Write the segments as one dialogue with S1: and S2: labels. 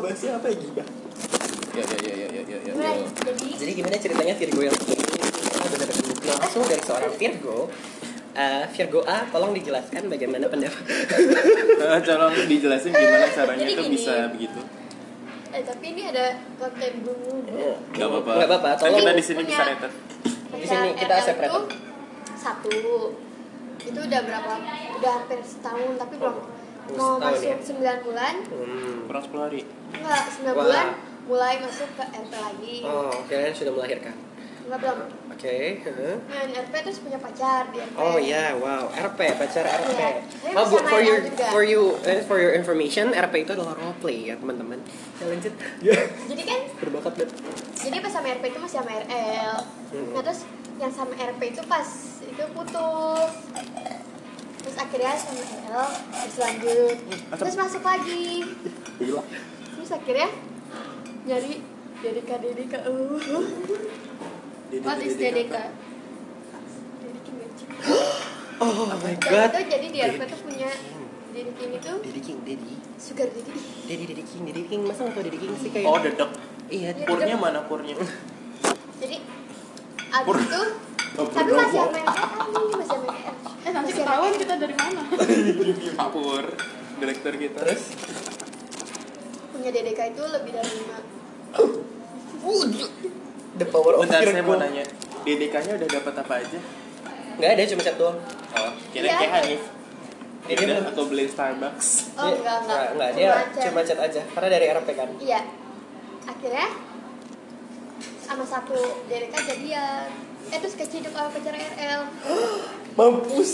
S1: Bahasnya apa ya gibah?
S2: Ya ya ya ya ya ya. ya, ya.
S3: Gue jadi
S4: Jadi gimana ceritanya Virgo yang ini? Kita benar langsung dari seorang Virgo. Eh, Virgo A, tolong dijelaskan bagaimana pendapat.
S2: Eh, Tolong dijelasin gimana caranya
S3: Jadi
S2: itu
S3: gini.
S2: bisa begitu.
S3: eh tapi ini ada konten dulu
S2: Gak apa-apa.
S4: Gak apa-apa.
S2: Kan
S4: Tolong
S2: kita di sini
S3: punya-
S2: bisa rated.
S4: Iya. Di sini kita separate.
S3: itu satu itu udah berapa udah hampir setahun tapi belum
S4: Oh,
S3: mau
S4: setahun
S3: masuk
S4: ya?
S3: 9 bulan
S4: Hmm.
S2: Kurang 10 hari.
S3: enggak 9
S4: Wah.
S3: bulan mulai masuk ke RP lagi
S4: Oh, kalian sudah melahirkan.
S3: enggak belum
S4: Oke. heeh.
S3: nah, RP terus punya pacar di RP
S4: Oh ya, wow. RP, pacar RP.
S3: Iya. Tapi
S4: Oh, bu-
S3: bisa
S4: for
S3: main
S4: your
S3: juga.
S4: for you eh, for your information, RP itu adalah role play ya teman-teman. Ya lanjut.
S3: jadi kan
S4: Berbakat deh.
S3: jadi pas sama RP itu masih sama RL
S4: Hmm.
S3: nah terus yang sama RP itu pas itu putus terus akhirnya sama RL terus lanjut
S4: Hmm,
S3: terus masuk lagi
S1: Gila.
S3: terus akhirnya nyari Dedeka Dedeka uh what is Dedeka Dedeki Magic
S4: Oh my
S3: dan
S4: god.
S3: itu jadi di RP tuh punya Dedeki ini tuh
S4: Didi King, Didi.
S3: sugar daddy
S4: Didi Didi King, Didi King. Masa nggak tahu Didi King sih kayak?
S2: Oh, dedek.
S4: iya.
S3: Iya.
S2: Purnya mana purnya?
S3: jadi abis
S2: Pur-
S3: itu
S2: Oh,
S3: tapi
S2: purnomo.
S3: masih sama yang RL masih sama yang RL
S5: Eh nanti ketahuan kita dari mana?
S2: Pak Pur, direktur kita.
S4: Terus?
S3: punya Dedeka itu lebih dari lima
S4: The power of
S2: Bentar saya
S4: Virgo.
S2: mau nanya. DDK-nya udah dapat apa aja?
S4: Nggak ada, cuma satu doang.
S2: Oh, kira
S3: Iya.
S2: kayak Hanif. Ya
S4: Ini
S2: udah,
S4: belum-
S2: aku beliin Starbucks.
S3: oh
S4: Dia-
S3: enggak enggak
S4: Nggak, nggak, Iya. dia
S3: Macet.
S4: cuma chat aja. Karena dari RP kan.
S3: iya akhirnya sama satu Dedeka jadian eh terus keciduk sama pacar RL
S1: Mampus.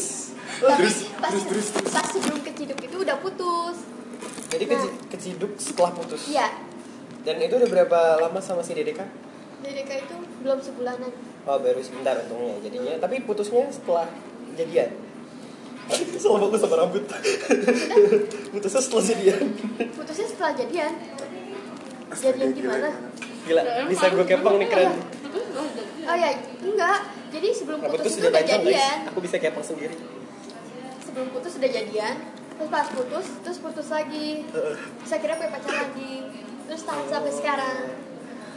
S3: tapi
S2: Terus,
S3: pas,
S2: terus, terus, terus.
S3: pas sebelum keciduk itu udah putus
S4: Jadi keci- keciduk setelah putus.
S3: Nah. iya
S4: Dan itu udah berapa lama sama si Dedeka?
S3: Dedeka itu belum sebulanan
S4: Oh baru sebentar untungnya jadinya. Tapi putusnya setelah jadian.
S1: Sama aku sama rambut. Putusnya setelah jadian.
S3: putusnya setelah jadian jadian gimana
S4: Gila,
S3: Nah,
S4: bisa gue kepeng nih keren.
S3: oh ya enggak jadi sebelum
S4: Rambut tuh
S3: putus itu
S4: Nah, sudah
S3: udah
S4: panjang
S3: jadian
S4: guys. Aku bisa kepeng sendiri.
S3: sebelum putus udah jadian terus pas putus terus putus lagi terus akhirnya punya pacar lagi terus tahan sampai sekarang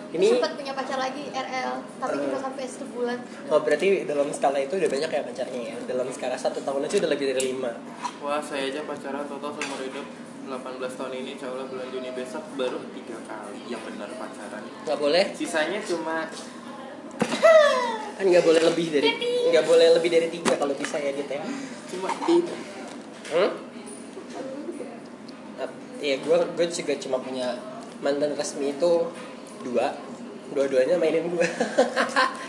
S3: ini
S4: Ini
S3: sempat punya pacar lagi RL tapi
S4: Eh.
S3: cuma sampai satu bulan
S4: oh berarti dalam skala itu udah banyak ya pacarnya ya. Dalam skala satu tahun aja udah lebih dari lima.
S2: Wah, saya aja pacaran total seumur hidup 18 tahun ini insya Allah bulan Juni besok baru tiga kali yang benar pacaran
S4: Gak boleh
S2: sisanya cuma
S4: kan nggak boleh lebih dari nggak boleh lebih dari tiga kalau bisa ya gitu ya.
S2: cuma di
S4: Hmm? Ap- Iya, gue gue juga cuma punya mantan resmi itu dua, dua-duanya mainin gue.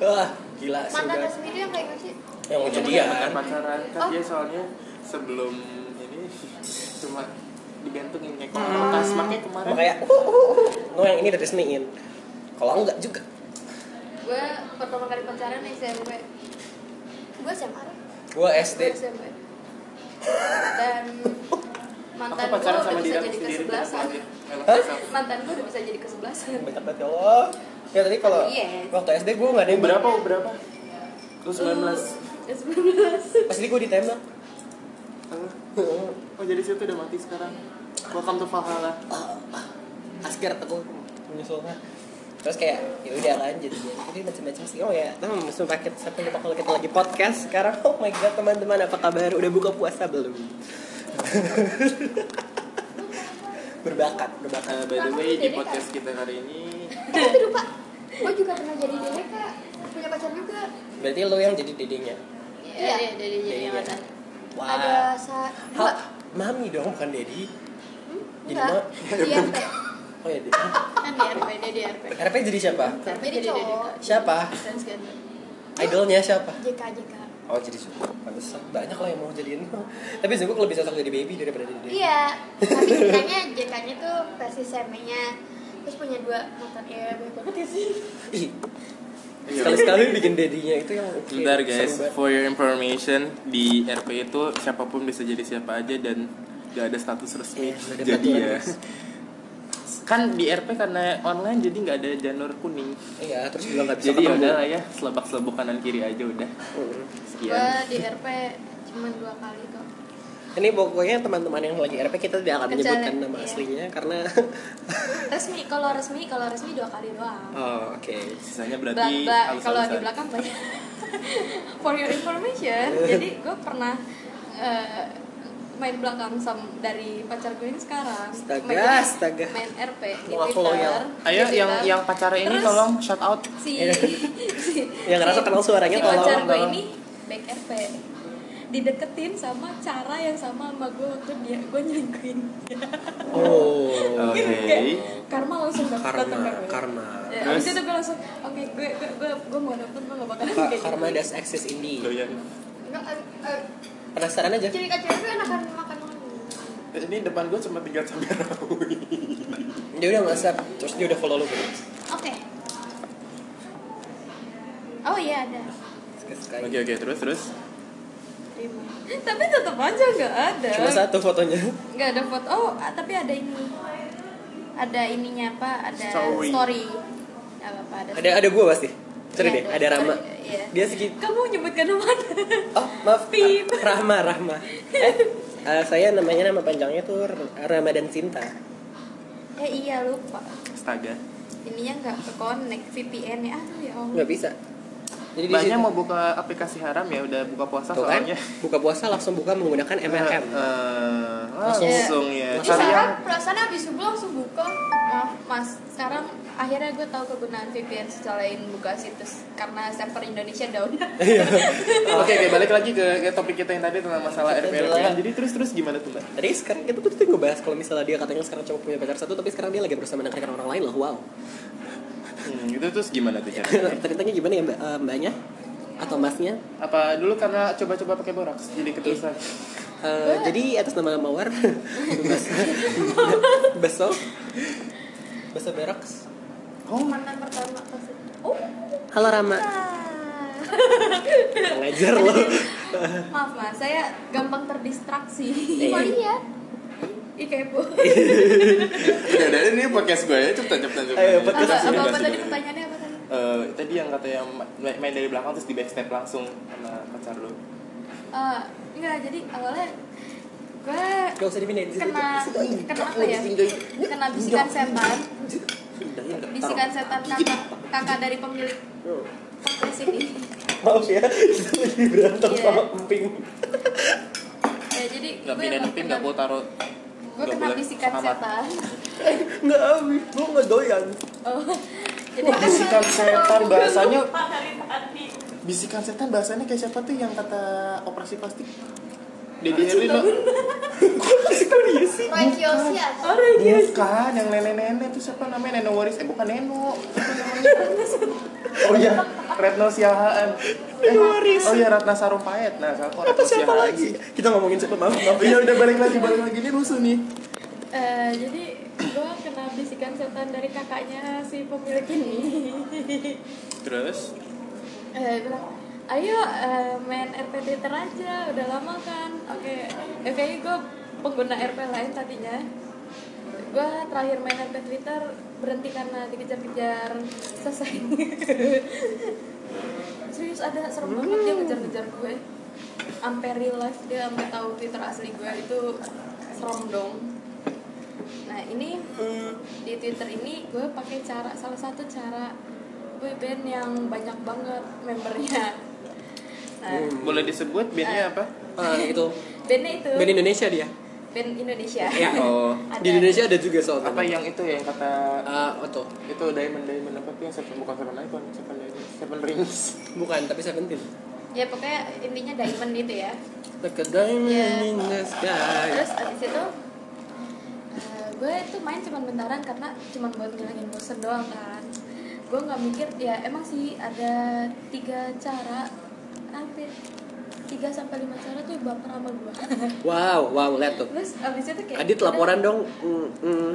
S4: Wah, gila sih
S3: mantan
S4: gua.
S3: resmi itu yang kayak gimana sih
S4: Yang mau
S2: Jadi ya
S4: jadian.
S2: pacaran kan
S3: Oh.
S2: dia soalnya sebelum ini cuma digantungin kayak
S5: Hmm.
S2: kotak tas makanya kemarin
S4: Makanya, uh, uh, uh, no yang ini udah resmiin. Kalau enggak juga.
S5: Gue pertama kali pacaran SMP
S3: gue SMA
S4: Gue
S3: gue
S4: SD.
S3: SMA
S5: dan
S2: aku
S5: mantan gue
S2: pacaran sama
S5: udah
S2: diri
S5: bisa
S2: Oh. aku
S5: jadi
S2: sendiri
S5: kesebelasan.
S2: Enak
S4: Hah?
S2: sekali.
S5: Mantan gue udah bisa jadi kesebelasan.
S4: Banyak banget ya Allah. Ya tadi kalau
S5: Iya.
S4: waktu SD gue nggak ada yang
S2: berapa berapa lu 19
S5: Ya 19.
S4: Pasti gue ditembak.
S2: Apa? oh jadi situ udah mati sekarang welcome to Valhalla
S4: Asgar teguh menyesulnya. Terus kayak ya udah lanjut. Jadi macam-macam sih. Oh ya, teman musuh paket satu lupa kalau kita lagi podcast sekarang. Oh my god, teman-teman apa kabar? Udah buka puasa belum? berbakat, berbakat.
S2: Eh, by the way di podcast kita kali ini
S3: eh tapi lupa gue juga pernah jadi Dedeka punya pacar juga
S4: Berarti lo yang jadi dedenya.
S3: Iya.
S5: Iya, jadi jadi
S4: Iya.
S5: mantan.
S4: Wah.
S3: ada sa
S4: Hah, mami dong bukan dedi. Jadi
S3: enggak
S4: mak.
S3: iya enggak.
S4: Oh ya, dedi.
S5: Kan di RP, dia di RP.
S4: RP jadi siapa?
S5: RP
S3: Jadi
S5: jadi
S3: cowok.
S5: cowok.
S4: Siapa?
S5: Transgender.
S4: Idolnya siapa?
S3: JK JK
S4: Oh jadi Jungkook. Pantesan banyak lah yang mau jadiin. Tapi Jungkook lebih cocok jadi baby daripada jadi Dedi.
S3: Iya, tapi ceritanya JK-nya tuh versi Seme-nya Terus punya dua mantan ya, banyak banget ya sih
S4: Ih,
S2: Iya.
S4: Iya. Sekali-sekali bikin dedinya itu yang oke.
S2: Bentar guys,
S4: Seru banget.
S2: for your information di RP itu siapapun bisa jadi siapa aja dan gak ada status resmi.
S4: Iya, nggak ada
S2: jadi
S4: peraturan
S2: ya.
S4: resmi.
S2: Kan di RP karena online jadi nggak ada janur kuning.
S4: Iya, terus juga nggak bisa
S2: Jadi ya
S4: ketemu.
S2: udah lah ya, selebak-selebak kanan kiri aja udah.
S4: Mm-mm.
S2: Sekian.
S5: Gue di RP cuma dua kali kok.
S4: Ini pokoknya teman-teman yang lagi RP kita tidak akan
S5: Kecuali,
S4: menyebutkan nama
S5: iya.
S4: aslinya karena
S5: Resmi, kalau resmi, kalau resmi dua kali doang.
S4: oh, oke.
S2: Sisanya
S5: Belak,
S2: berarti
S5: belak,
S2: halus
S5: kalau di belakang banyak. For your information, jadi gue pernah eh, main belakang sam dari pacar gue yang sekarang.
S4: Astaga,
S5: Mainnya
S4: astaga.
S5: main RP di
S4: Wah,
S5: Twitter.
S4: loyal.
S2: Ayo
S5: di
S2: yang
S5: Twitter.
S2: yang pacarnya ini
S5: Terus-
S2: tolong shout out.
S5: si
S4: Iya.
S5: si
S4: Yang ngerasa kenal suaranya
S5: si
S4: tolong,
S5: pacar gue
S2: tolong.
S5: ini back RP dideketin sama cara yang sama sama gue waktu dia gue nyelingkuhin
S4: Oh.
S2: Oke.
S5: Kayak karma langsung dapet
S4: Karma,
S5: datang ke gue.
S4: karma.
S5: ya,
S2: Terus?
S5: abis itu gue langsung oke gue gue gue gue mau nonton gue gak bakalan
S4: Ka-
S5: kayak
S4: Karma
S5: gitu.
S4: does exist ini.
S2: Loh, ya.
S3: Enggak, eh, eh,
S4: Penasaran aja.
S3: ciri kacanya tuh enakan makan
S2: Ini depan gue cuma tiga cabai rawit.
S4: Dia udah nge-accept, terus dia udah follow lu gitu.
S5: oke oh iya ada
S4: Sekali-sekali.
S2: Oke oke terus terus.
S5: terima tapi tetap aja nggak ada
S4: Cuma satu fotonya.
S5: nggak ada foto oh ah, tapi ada ini ada ininya apa ada
S2: Story.
S5: story nggak apa-apa ada
S4: Ada ada gua pasti. Cari
S5: Iya,
S4: deh, ada Rama.
S5: story, iya.
S4: Dia sedikit
S5: kamu nyebutkan nama
S4: Oh, maaf.
S5: Pip.
S4: Rahma, Rahma. Eh, eh, saya namanya nama panjangnya tuh R- Ramadan Sinta.
S5: eh iya lupa
S2: Astaga.
S5: ininya nggak ke connect VPN ya aduh ya allah
S4: Nggak bisa. Jadi di
S2: Banyak
S4: situ-
S2: mau buka aplikasi haram ya udah buka puasa
S4: Tuh kan,
S2: soalnya.
S4: buka puasa langsung buka menggunakan MLM.
S2: Eh, eh,
S4: Langsung.
S2: langsung ya.
S3: Ini
S2: Cari yang
S3: sekarang perasaan habis subuh langsung buka
S5: maaf mas sekarang akhirnya gue tahu kegunaan VPN selain buka situs karena server Indonesia down
S2: ya, Oke, oke, balik lagi ke, ke topik kita yang tadi tentang masalah
S4: Kita
S2: RPRP.
S4: adalah-
S2: Jadi terus terus gimana tuh mbak?
S4: Tadi sekarang kita tuh tuh ngebahas kalau misalnya dia katanya sekarang cuma punya pacar satu, tapi sekarang dia lagi bersama dengan orang lain loh. Wow.
S2: Hmm, itu terus gimana tuh caranya?
S4: Ceritanya gimana ya mbak, Eh, mbaknya atau masnya?
S2: Apa dulu karena coba-coba pakai boraks jadi keterusan?
S4: Eh, jadi atas nama Mawar, Bas- Baso, Baso Beraks.
S2: Oh,
S3: mantan pertama pasti.
S5: oh
S4: Halo Rama,
S5: ah.
S4: ngajar lo.
S5: maaf mas saya gampang terdistraksi
S4: Eh.
S5: Maaf,
S3: Iya.
S5: Ih, kepo
S4: Iya.
S2: udah udah ini podcast gue ya cepetan cepetan cepetan.
S4: Ayo,
S5: apa
S4: podcast
S5: apa, apa tadi pertanyaannya apa tadi
S2: Eh, tadi yang kata yang ma- main dari belakang terus di backstab langsung sama pacar lu.
S5: Eh, enggak jadi awalnya gue
S4: Gak usah dipindahin. Situ-
S5: kena
S4: situ aja.
S5: kena
S2: Oh,
S5: apa ya kena bisikan setan
S4: Pindahin nggak?
S5: bisikan setan kakak kakak dari pemilik
S4: Taruh.
S5: podcast ini
S1: Maaf ya, kita lagi berantem
S5: Iya.
S1: sama emping.
S5: ya jadi
S2: Gak
S5: gue
S2: pindahin
S5: emang
S2: emping
S5: kena-
S2: gak mau taruh.
S5: gue
S2: nggak
S5: kena
S2: boleh
S5: bisikan
S2: kamar.
S5: setan
S4: Nggak, Abi. Gue nggak doyan.
S5: oh jadi
S2: Wah, bisikan setan bahasanya
S5: Lupa dari tadi.
S2: bisikan setan bahasanya kayak siapa tuh yang kata operasi plastik? Dedi Herlino.
S3: Roy Kiyoshi ya.
S5: orang dia
S2: Bukan, yang nenek-nenek itu siapa namanya? Neno Waris. Eh bukan Neno. Apa namanya? oh iya, Retno Siahaan. Neno Waris. Oh iya, Ratna Sarumpayat. Nah, kalau Retno
S4: siapa
S2: Siahaan.
S4: lagi? Kita ngomongin siapa? Maaf, maaf.
S2: Iya udah balik lagi, balik lagi. Ini rusuh nih.
S5: Eh, jadi gue kena bisikan setan dari kakaknya si pemilik ini
S2: Terus?
S5: eh bilang ayo eh, main RP Twitter aja udah lama kan oke eh, kayaknya gue pengguna RP lain tadinya gue terakhir main RP Twitter berhenti karena dikejar-kejar selesai serius ada serem banget dia ngejar-ngejar gue sampai real life dia sampai tahu Twitter asli gue itu serem dong nah ini di Twitter ini gue pakai cara salah satu cara gue band yang banyak banget membernya nah
S4: Hmm.
S2: Boleh disebut bandnya apa?
S4: Ah, gitu.
S5: bandnya itu
S4: Band Indonesia dia.
S5: band Indonesia
S4: Ya.
S2: Oh.
S5: Ada.
S4: Di Indonesia ada juga soalnya.
S2: Apa yang itu ya, yang kata
S4: Ah, Oto.
S2: itu diamond diamond apa tuh yang seven bukan seven icon seven diamond seven rings
S4: Bukan, tapi Seventeen.
S5: ya pokoknya intinya diamond itu ya
S4: Like a diamond
S5: Iya.
S4: in the sky.
S5: terus abis itu eh, gue itu main cuman bentaran karena cuman buat ngilangin bosen doang kan gue nggak mikir ya emang sih ada tiga cara hampir tiga sampai lima cara tuh baper sama gue
S4: Wow, wow, lihat tuh.
S5: terus abis itu kayak
S4: Adit
S5: udah.
S4: laporan dong. Mm, mm.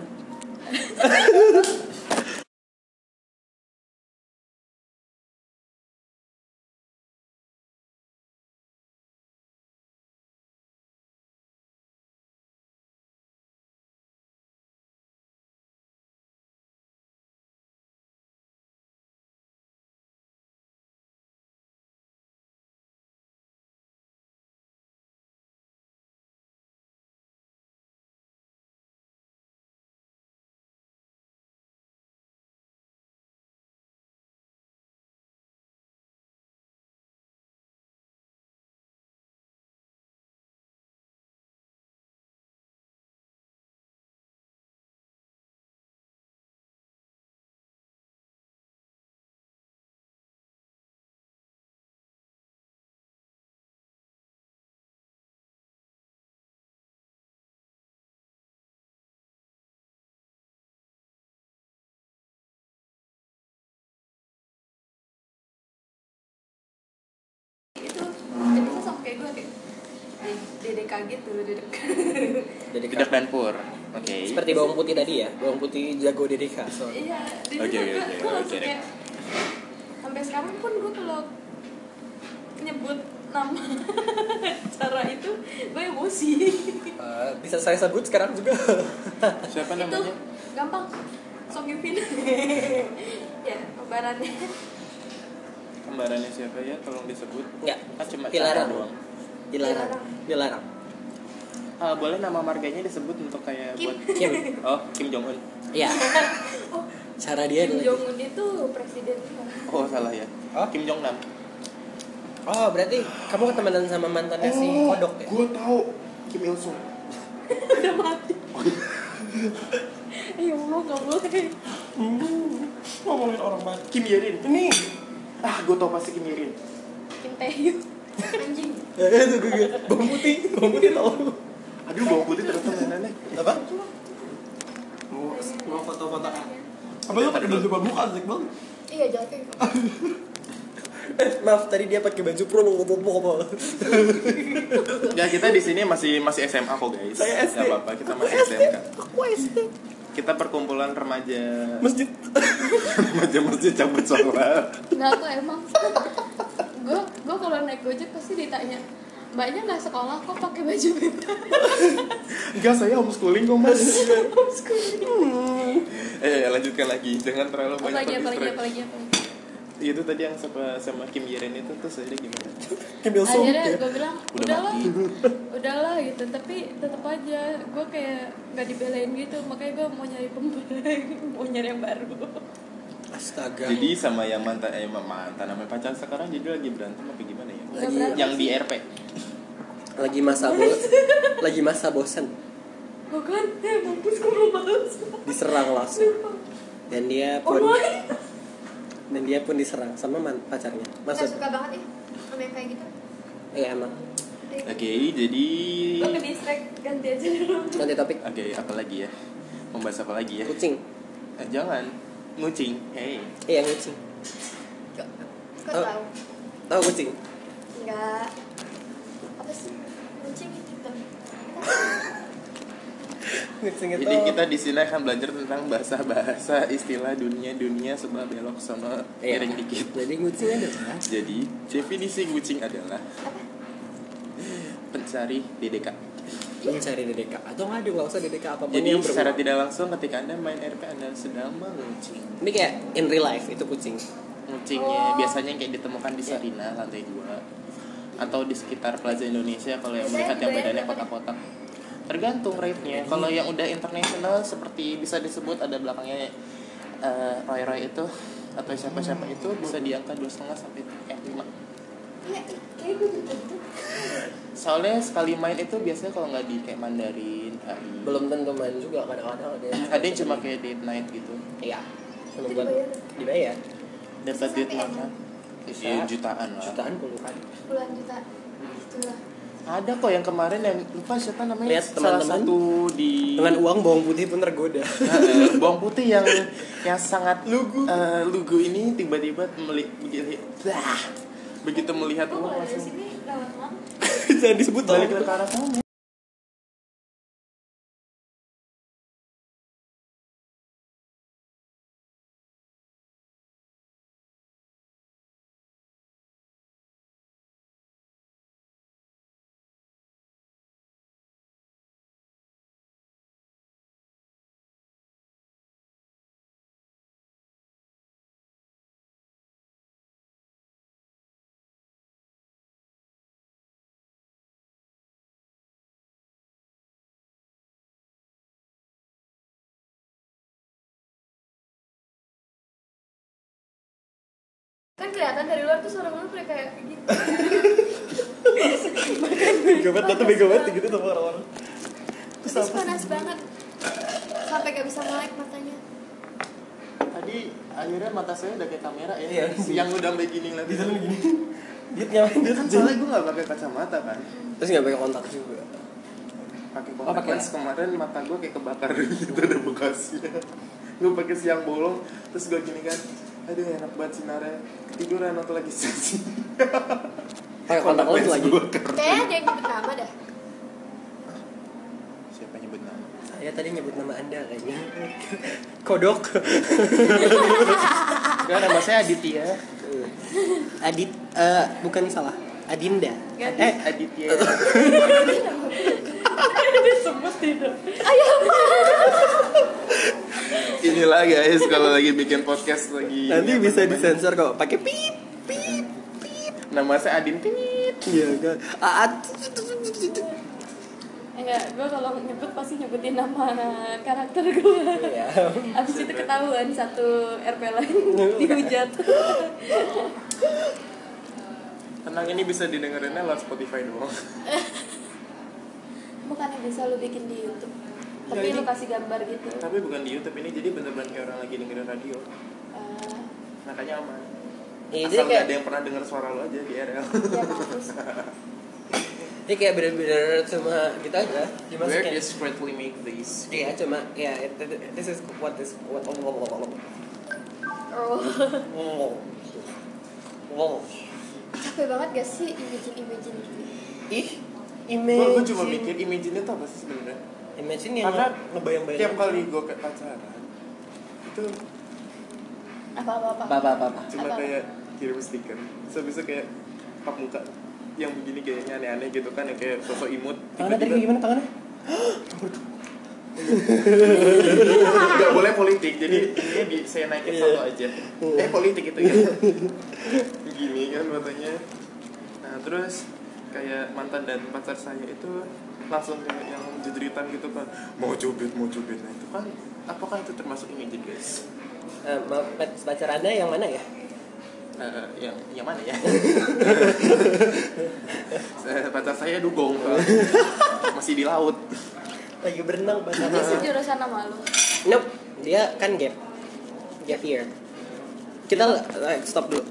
S5: gue kayak dede kaget dulu dedek
S4: Dedeka.
S2: Tidak Danpur. Oke.
S4: Seperti bawang putih tadi ya, bawang putih jago Dedeka. So.
S5: iya jadi
S2: Oke, oke,
S5: gue gue
S2: oke,
S5: langsung
S2: oke.
S5: kayak sampai sekarang pun gue kalau nyebut nama cara itu gue emosi
S4: Eh, bisa saya sebut sekarang juga.
S2: Siapa
S5: itu
S2: namanya?
S5: gampang Song Yupin ya lebarannya
S2: Kembarannya siapa ya? Tolong disebut.
S4: Enggak,
S2: Ah, cuma
S4: dilarang.
S2: cara doang.
S4: Dilarang. Dilarang.
S2: Eh,
S1: Ah, boleh nama marganya disebut untuk kayak
S5: Kim.
S1: buat
S4: Kim.
S1: Oh, Kim Jong Un.
S4: Iya. Cara
S2: Iya,
S4: dia
S5: Kim
S4: adalah gitu.
S5: Jong Un itu presiden
S1: Oh, salah ya.
S4: Oh.
S1: Kim Jong Nam.
S4: Oh, berarti kamu ketemanan sama mantannya si
S2: Oh.
S4: Kodok ya?
S6: gue Oh, tahu Kim Il Sung.
S5: udah mati ya Allah nggak boleh
S1: Ngomongin orang banget.
S6: Kim Yerin. Ini. Ah, gue tau pasti Kim Yerin.
S5: Kim Taehyung anjing
S4: Ya, itu gue. Bawang putih, bawang putih tau.
S6: Aduh, bau putih ternyata mainannya.
S1: Apa?
S6: Mau mau foto-foto ah.
S1: Apa lu pakai baju pramuka asik banget?
S3: Iya, jatuh.
S4: Eh, Maaf, tadi dia pakai baju pro ngopo-ngopo.
S2: Ya kita di sini masih masih SMA kok guys.
S4: Saya SD.
S2: Gak apa-apa, kita masih SMK. Kita perkumpulan remaja
S4: Masjid.
S2: remaja masjid cabut sholat.
S5: nggak kok emang gue gue kalau naik gojek pasti ditanya mbaknya nggak sekolah kok pakai baju bebas
S6: Enggak, saya homeschooling kok, Mas.
S2: Eh lanjutkan lagi, jangan terlalu banyak
S5: apalagi apalagi
S2: terdistract.
S5: apalagi apalagi
S2: Itu tadi yang sama, sama Kim Yeren itu terus akhirnya gimana?
S4: Kim Il Sung.
S5: akhirnya
S4: ya.
S5: gue bilang
S2: Udah
S5: udahlah
S2: mati.
S5: udahlah gitu tapi tetap aja gue kayak nggak dibelain gitu makanya gue mau nyari pembelain mau nyari yang baru
S4: Astaga.
S2: Jadi sama yang mantan eh mantan sama pacar sekarang jadi lagi berantem apa gimana ya?
S5: Nggak berantem
S2: yang di RP.
S4: lagi masa bos lagi masa bosan
S5: bukan eh mampus gue belum balas
S4: diserang langsung dan dia
S5: oh
S4: pun
S5: my
S4: dan dia pun diserang sama man, pacarnya
S3: Nggak
S4: maksud
S3: suka banget ya sama yang kayak gitu.
S4: iya emang
S2: Oke, jadi
S5: gue ke distract ganti aja dulu
S4: nanti topik
S2: Oke, apa lagi ya? Membahas apa lagi ya?
S4: kucing
S2: Eh, jangan ngucing. Hey.
S4: iya kucing
S3: Kok
S4: Oh.
S3: tahu?
S4: tahu kucing
S3: Enggak. Apa sih? Kucing gitu.
S4: kucing itu
S1: Oh.
S2: Jadi kita di sini akan belajar tentang bahasa-bahasa istilah dunia-dunia sebelah belok sama
S4: Iya.
S2: miring dikit.
S4: jadi kucing adalah
S2: Jadi definisi kucing adalah pencari DDK.
S4: mencari DDK atau nggak ada nggak usah DDK apapun
S2: Jadi
S1: Oh,
S4: yang
S2: secara
S4: berbau.
S2: tidak langsung ketika anda main RP anda sedang mengucing.
S4: ini kayak in real life itu kucing
S2: Ngucingnya
S1: Oh.
S2: biasanya kayak ditemukan
S3: Iya.
S2: di Sarina lantai 2 atau di sekitar Plaza Indonesia kalau yang melihat
S3: Biasanya
S2: yang
S3: juga Iya. ya,
S2: badannya
S3: berapa nih?
S2: kotak-kotak. Tergantung rate-nya. Kalau yang udah internasional seperti bisa disebut ada belakangnya eh, Roy Roy itu atau siapa-siapa itu bisa di angka dua setengah sampai eh, lima.
S3: Iya, ih, kayak gue juga gitu.
S2: Soalnya sekali main itu biasanya kalau nggak di kayak Mandarin, KI.
S4: belum tentu main juga kadang-kadang ada
S2: Ada yang cuma kayak date night gitu.
S4: iya cuma
S3: Itu
S4: buat
S3: dibayar.
S4: dibayar
S2: Dapat duit
S3: Sampai
S2: makan.
S4: Bisa.
S2: Iya, jutaan lah.
S4: jutaan kan. puluhan
S3: Puluhan juta. Itulah.
S2: Ada kok yang kemarin yang lupa siapa namanya?
S4: Lihat
S2: salah
S4: teman-teman.
S2: satu di
S4: dengan uang bawang putih pun tergoda
S2: Eh, bawang putih yang yang sangat lugu lugu ini tiba-tiba meli- begitu Dah. begitu melihat
S5: gue
S2: uang
S5: kalau dari
S2: langsung
S5: sini lama
S4: jangan disebut
S2: balik ke arah sana
S3: Kan kelihatan dari luar tuh suara lu kayak gitu.
S1: Bego banget, tante bego banget gitu sama orang-orang.
S3: Terus panas banget. Sampai gak bisa melek matanya.
S2: tadi akhirnya mata saya udah kayak kamera
S4: Iya.
S2: ya yang udah begini lagi
S4: dia nyamain dia
S2: kan soalnya gue gak pakai kacamata kan
S4: terus nggak pakai kontak juga
S2: pakai ya?
S4: Oh,
S2: kontak
S4: pakai
S2: lens kemarin mata gue kayak kebakar gitu ada bekasnya gue pakai siang bolong terus gue gini kan aduh enak banget sinarnya ketiduran atau lagi sesi
S4: Pakai kontak lens lagi.
S3: Kayaknya ada yang nyebut nama dah.
S2: Siapa nyebut nama?
S4: Saya tadi nyebut nama Anda kayaknya. Kodok.
S2: Enggak, nama saya
S4: ya.
S2: Aditya.
S4: Adit eh, bukan salah. Adinda.
S5: Gadis.
S4: Eh,
S2: Aditya.
S5: Sebut tidak.
S2: Inilah guys, kalau lagi bikin podcast lagi.
S4: nanti
S2: apa
S4: bisa
S2: namanya?
S4: disensor kok pakai pip pip.
S2: Nama saya Adin Pingit.
S4: Iya kan. Aat.
S5: Enggak, gue kalau nyebut pasti nyebutin nama karakter gue.
S4: Iya.
S5: Abis itu ketahuan satu RP lain dihujat.
S2: Tenang ini bisa didengerinnya lewat Spotify doang.
S5: Bukannya bisa lu bikin di YouTube. Tapi
S2: Ya,
S5: lu
S2: ini-
S5: kasih gambar gitu.
S2: Tapi bukan di YouTube ini jadi bener-bener kayak orang lagi dengerin radio.
S5: Eh,
S2: Makanya aman.
S4: Iya, jadi
S2: Asal nggak
S4: kayak
S2: ada yang pernah dengar suara lo aja di RL.
S5: ya mampus.
S4: jadi kayak bener-bener cuma gitu aja.
S2: Where
S4: Dimasukin.
S2: is Bradley make this?
S4: Iya, cuma ya it- it- this is what is what oh, oh, oh, oh,
S3: Oh,
S4: oh. Oh.
S3: capek banget gak sih imagine-imagine gini?
S4: Ih,
S2: Gue
S4: imagine. Iya,
S2: gue cuma mikir imagine itu apa sih sebenarnya?
S4: Imagine yang
S2: Karena
S4: ngebayang-bayang.
S2: tiap kali gue ke pacaran itu
S5: Apa-apa.
S4: apa apa apa.
S2: cuma
S5: Apa?
S2: kayak kirim stiker. So bisa kayak pak muka yang begini kayaknya aneh-aneh gitu kan yang kayak sosok imut
S4: Tangannya tadi kayak gimana tangannya?
S2: nggak boleh politik jadi ini di saya naikin satu aja eh politik itu kan gini kan fotonya nah terus kayak mantan dan pacar saya itu langsung kayak yang jedritan gitu kan mau cubit mau cubit nah itu kan apakah itu termasuk image guys
S4: Eh, maaf, Pat, pacar Anda yang mana ya?
S2: Eh, yang yang mana ya Eh, pacar saya dugong Pak. masih di laut
S4: Lagi berenang pacar.
S5: Tapi sejurusan sama lu.
S4: Nope, dia kan gap. Gap year. Kita eh, stop dulu.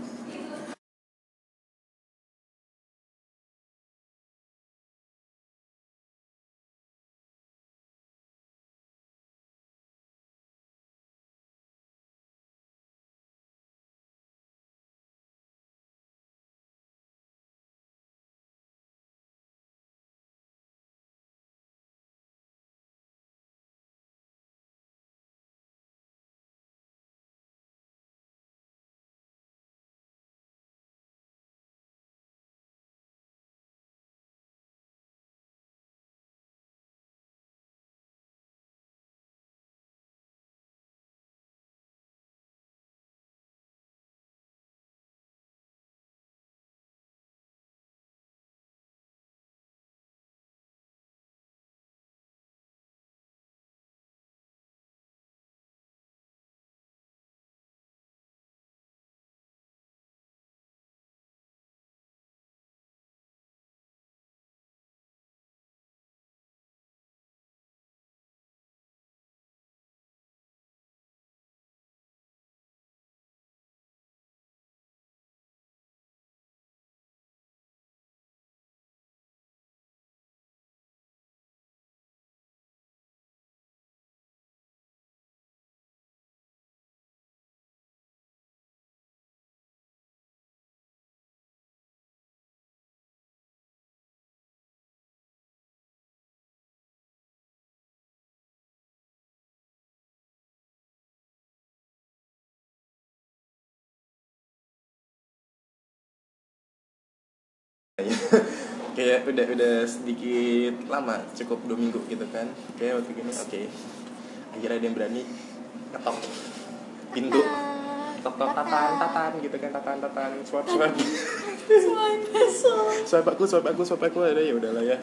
S2: kayak udah udah sedikit lama cukup dua minggu gitu kan kayak waktu gini oke akhirnya ada yang berani ngetok pintu tok tok tatan tatan gitu kan tatan tatan swipe swipe swipe aku swipe aku swipe aku ada ya udahlah ya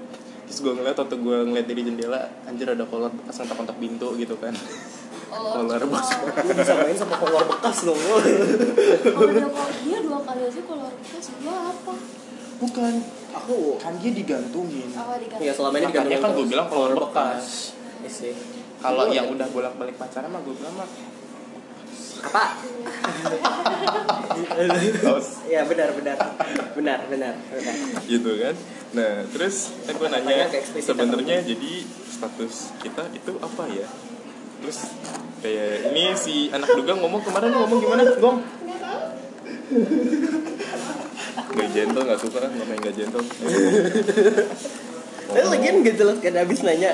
S2: terus gue ngeliat waktu gue ngeliat dari jendela anjir ada kolor bekas ngetok ngetok pintu gitu kan kolor bekas
S4: Lu bisa main sama kolor bekas dong. lu.
S5: Kalau Oh, udah kalau dia dua kali aja kalau request gua apa?
S2: bukan
S4: Aku
S2: kan dia digantungin
S5: Awal dikasih.
S4: ya selama ini
S2: makanya
S4: digantungin
S2: kan gue
S4: terus.
S2: bilang kolor bekas
S4: Iya sih.
S2: kalau
S1: Iya,
S2: yang udah bolak balik pacaran mah gue bilang mah
S4: apa?
S1: Iya,
S2: kaos
S4: Ya benar benar. Benar benar. benar.
S2: gitu kan nah terus kan gue nanya
S4: Pertanyaan ke eksplisit
S2: sebenarnya jadi status kita itu apa ya terus kayak ini si anak duga ngomong kemarin ngomong gimana gong
S1: Gak gentle, gak suka kan sama yang gak gentle
S4: Tapi lagian gak jelas kan abis nanya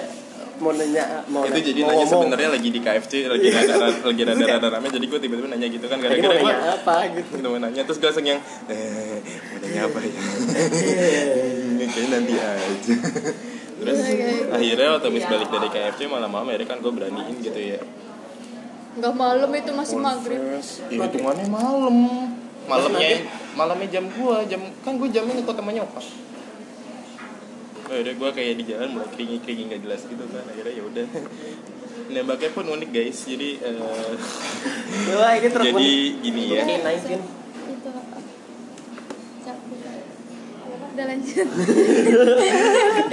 S4: mau nanya mau
S1: Itu
S4: na-
S1: jadi
S4: mau
S1: nanya
S4: ngomong.
S1: sebenarnya lagi di KFC Lagi rada lagi rada rada rame Jadi gue tiba-tiba nanya gitu kan
S4: Lagi mau
S1: Gara-gara gue
S4: nanya apa gitu.
S1: Gitu mau nanya Terus gue langsung yang Eh, mau nanya apa ya Kayaknya nanti aja Terus akhirnya waktu habis balik dari KFC malam-malam akhirnya kan gue beraniin gitu ya
S3: Nggak malam itu masih maghrib.
S1: Converse. Ya, hitungannya malam.
S2: Iya.
S1: Malamnya ya, malamnya jam gua, jam kan gua jamnya ngikut sama nyokap. Akhirnya gua kayak di jalan mulai keringi-keringi nggak jelas gitu kan. Akhirnya ya udah. Nembaknya pun unik guys. Jadi eh,
S4: Wah, ini terus
S1: jadi gini ya.
S4: Oke, 19.
S3: Itu apa? Capek. Udah lanjut.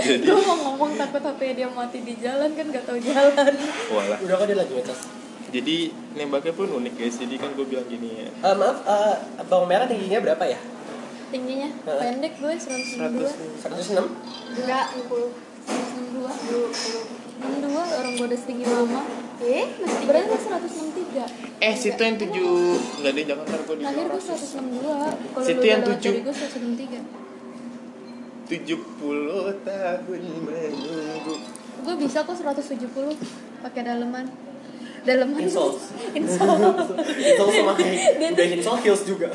S1: Jadi
S5: Gue mau ngomong takut HP dia mati di jalan kan gak tahu jalan.
S1: walah.
S4: Udah kok dia lagi ngecas.
S1: Jadi nembaknya pun unik guys. Jadi kan gua bilang gini ya.
S4: Eh, maaf, eh, bawang merah tingginya berapa ya?
S3: Tingginya pendek gue 162.
S4: 106.
S3: Enggak, 60.
S5: 62 62 orang gue udah setinggi mama.
S3: Eh, masih tinggi.
S5: Berarti 163.
S7: Eh, situ yang tujuh nggak ada jangan ntar gua di
S5: Lahir gue 162. Kalau
S7: Situ
S5: lu
S7: yang
S5: udah lewat
S7: tujuh.
S5: dari gue 163.
S1: 70 tahun menunggu.
S5: Gue bisa kok 170 pakai daleman. Daleman.
S4: Insoles.
S5: Insol.
S4: Itu sama high. Udah insol heels juga.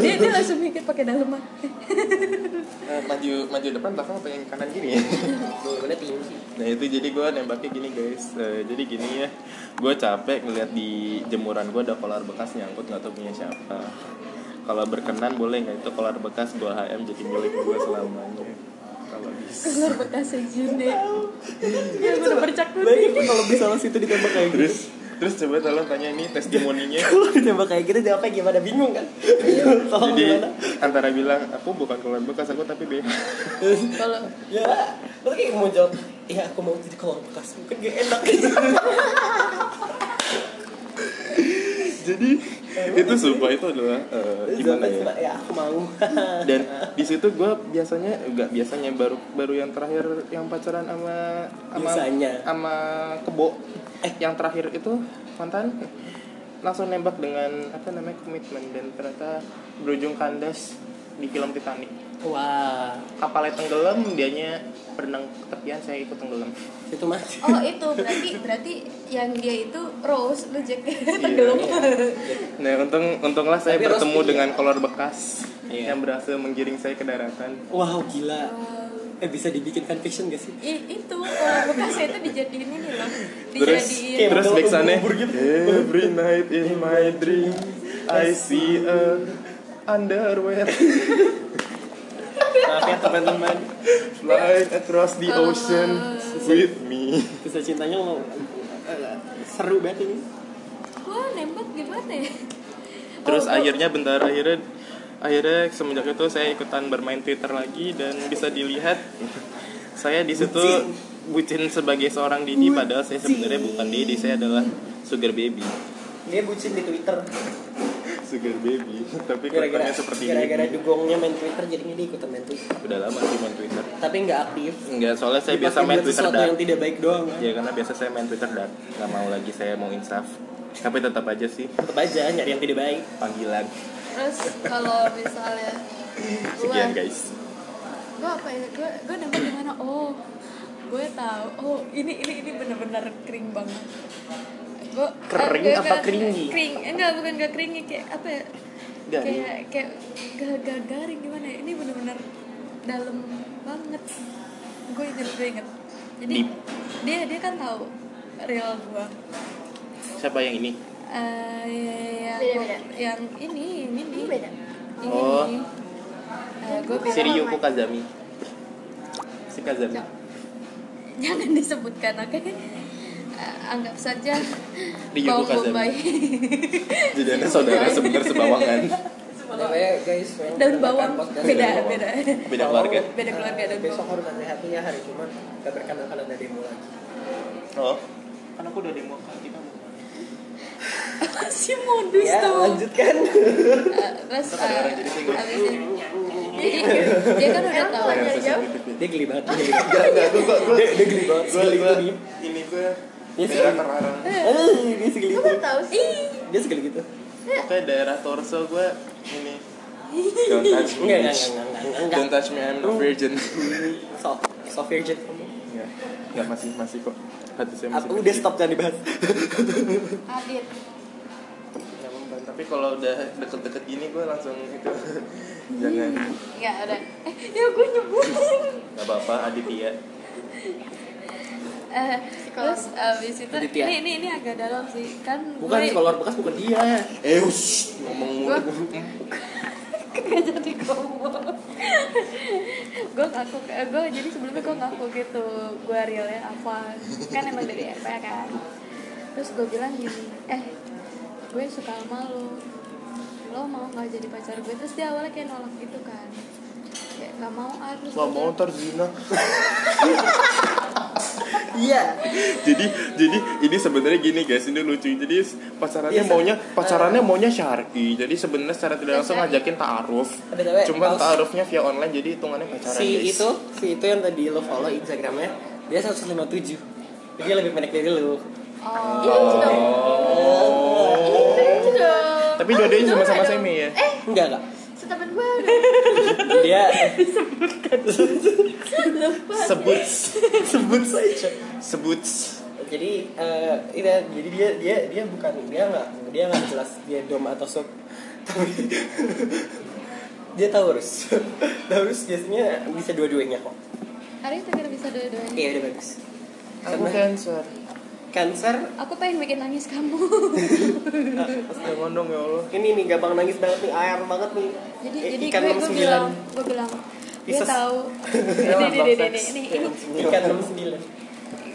S5: dia dia langsung mikir pakai daleman.
S1: Eh, maju maju depan belakang pengen kanan gini ya.
S4: Bawangnya tinggi.
S1: Nah itu jadi gue nembaknya gini guys Eh, Jadi gini ya Gue capek ngeliat di jemuran gue ada kolar bekas nyangkut gak tau punya siapa Kalau berkenan boleh nggak itu kolar bekas gue HM jadi milik gue selamanya Kalau bisa
S5: Keluar bekasnya June. Dia Iya, udah bercak kuning.
S4: Baik, kalau misalnya situ ditembak kayak gitu.
S1: Terus terus coba tolong tanya ini testimoninya
S4: Kalau ditembak kayak gitu jawabnya gimana? Bingung kan? Tolong
S1: Jadi
S4: gimana?
S1: antara bilang aku bukan kolar bekas aku tapi BH
S5: Kalau
S4: Ya, lu kayak mau jawab, iya aku mau jadi kolong bekas. Mungkin gak enak
S1: Jadi itu sumpah itu adalah eh, gimana
S4: ya?
S1: ya
S4: aku mau.
S1: dan di situ gue biasanya enggak biasanya baru baru yang terakhir yang pacaran sama sama
S4: Biasanya.
S1: sama kebo eh yang terakhir itu mantan langsung nembak dengan apa namanya komitmen dan ternyata berujung
S2: kan.
S1: kandas di film Titanic
S4: Wah,
S1: kapalnya tenggelam dianya berenang ke tepian saya ikut tenggelam
S4: itu mah.
S5: oh itu berarti berarti yang dia itu Rose lu Jack Iya. tenggelam.
S1: nah untung untunglah saya
S4: Tapi harus
S1: bertemu
S4: iya.
S1: dengan kolor bekas
S4: Iya.
S1: yang berhasil menggiring saya ke daratan
S4: Wow, gila. Eh bisa dibikinkan fiction gak sih?
S5: I, itu kalau bekasnya itu dijadiin ini loh.
S1: Terus
S5: Dijadiin
S4: Kayak
S1: terus
S4: model
S1: back sana
S4: ubur-ubur gitu.
S1: Every night in my dream I see a underwear
S4: Maaf ya teman-teman.
S1: flying across the ocean with me.
S4: Bisa cintanya lo eh, seru banget ini.
S5: Wah nembak gimana ya?
S1: Terus akhirnya bentar akhirnya akhirnya semenjak itu saya ikutan bermain Twitter lagi dan bisa dilihat saya di situ bucin sebagai seorang Didi padahal saya sebenarnya bukan Didi saya adalah sugar baby
S4: Dia bucin di Twitter.
S1: sugar baby tapi
S4: Gara-gara
S1: kelihatannya seperti
S4: gara-gara
S1: Didi
S4: dugongnya main Twitter jadinya dia ikutan main Twitter.
S1: udah lama sih main Twitter
S4: Tapi nggak aktif.
S1: enggak soalnya saya
S4: Dia
S1: biasa
S4: pasti
S1: main
S4: buat
S1: Twitter
S4: sesuatu
S1: dark
S4: yang tidak baik doang. Kan?
S1: Ya karena biasa saya main Twitter dan nggak mau lagi saya mau insaf. Tapi tetap aja sih
S4: Tetap aja nyari yang tidak baik.
S1: panggilan.
S5: Terus kalau misalnya
S1: Sekian guys.
S5: gue apa ya gue gue nembak gimana oh gue tahu oh ini ini ini benar-benar kering banget gue
S4: Kering
S5: eh,
S4: apa keringi?
S5: kering Eh, enggak bukan gak keringi kayak apa ya
S1: Garing.
S5: kayak kayak gak gak garing gimana ya ini benar-benar dalam banget gue inget gue inget jadi
S1: Deep.
S5: dia dia kan tahu real gue
S1: Siapa yang ini?
S5: Eh, yang,
S3: Beda-beda.
S5: yang ini yang ini
S3: Ini beda.
S5: Yang
S1: Oh.
S5: ini Eh, gue
S1: Si Ryuko Kazami. Si Kazami.
S5: jangan disebutkan oke Eh, anggap saja
S1: Di
S5: bawang
S1: Yugo Kazami.
S5: bombay
S1: Jadi anda saudara sebentar sebawangan.
S4: Pokoknya guys, yang mendengarkan
S5: daun bawang
S4: podcast
S5: beda
S4: ini,
S5: beda
S1: Beda keluarga.
S5: beda keluarga daun
S4: Besok
S5: bawang
S4: harus hati-hati ya hari Jumat. Gak berkenan kalau ada demo lagi.
S1: Oh.
S7: Kan aku udah demo kali kamu.
S5: masih modus
S4: Ya,
S5: tuh
S4: lanjutkan.
S5: Eh, terus
S1: Ada
S5: eh,
S1: orang jadi single.
S5: abis itu jadi dia kan udah tahu
S1: Layar
S3: Dari jauh.
S1: sensitif ya.
S4: Dia geli banget. dia geli banget.
S1: Enggak, enggak, gue, gue, gue,
S4: Dia, dia geli banget.
S1: gue,
S4: Segeli itu
S1: gue,
S4: dia.
S1: ini gue,
S4: Iya sih.
S1: daerah terlarang.
S4: Eh, Dia segeli
S3: Gue
S4: itu.
S3: baru tahu sih.
S4: Dia segeli gitu.
S1: Pokoknya daerah torso gue ini Oh.
S2: Don't touch me.
S4: Enggak, enggak, enggak, enggak, enggak, enggak.
S2: Don't touch me, I'm not virgin.
S4: So, so virgin kamu.
S2: Enggak, enggak masih masih kok. Hati saya masih.
S4: Aku udah stop jangan dibahas.
S5: Adit
S2: Jangan, Bang. Tapi kalau udah deket-deket gini gue langsung itu jangan.
S5: Enggak, udah Eh, ya gue nyebutin
S2: Gak apa-apa, Aditya.
S5: Eh, Terus abis itu
S4: Aditya.
S5: Ini, ini, ini agak dalam sih Kan
S4: Bukan
S5: gue
S4: kolor bekas bukan dia.
S2: Eh, ush, ngomong mulu.
S5: Gak jadi ngomong Gue ngaku, eh, gue jadi sebelumnya gue ngaku gitu Gue realnya apa Kan emang dari RP kan Terus gue bilang gini Eh, gue suka sama lo Lo mau gak jadi pacar gue Terus dia awalnya kayak nolak gitu kan Kayak gak mau ah terus
S2: Gak
S5: gue
S2: mau
S5: bilang,
S2: ntar zina.
S4: Iya.
S2: jadi jadi ini sebenarnya gini guys ini lucu jadi pacarannya
S4: Iya,
S2: maunya pacarannya maunya syar'i jadi sebenarnya secara tidak langsung
S5: Syar'i.
S2: ngajakin ta'aruf
S4: Btw,
S2: cuman
S4: Paus.
S2: ta'arufnya via online jadi hitungannya pacaran
S4: Si
S2: guys
S4: itu, si itu yang tadi lo follow Instagramnya, dia 157. Jadi dia lebih pendek dari lo.
S5: Oh,
S3: Ini lucu dong.
S2: Oh.
S1: Oh.
S3: Ini lucu dong.
S2: tapi dua-duanya
S3: Aduh,
S2: sama-sama
S3: aduh.
S2: semi ya
S3: Eh,
S4: Enggak, enggak.
S3: setemen gue
S4: Dia
S2: sebut
S4: sebut saja.
S2: sebut
S4: Jadi eh itu jadi dia dia dia bukan dia enggak dia enggak jelas dia dom atau sub. Tapi dia Taurus. Taurus biasanya bisa dua-duanya kok.
S5: hari itu kira bisa dua-duanya
S4: Iya, udah bagus.
S2: aku
S4: Karena
S2: cancer
S4: Cancer
S5: Aku pengen bikin nangis kamu
S2: jangan dong ya Allah
S4: ini nih gampang nangis banget nih, air banget nih.
S5: Jadi,
S4: Eh,
S5: jadi
S4: ikan
S5: gue, gue
S4: 69.
S5: bilang Gue bilang Dia
S4: Pisces.
S5: tahu Ini, ini, ini, ini, ini, ini
S4: Ikan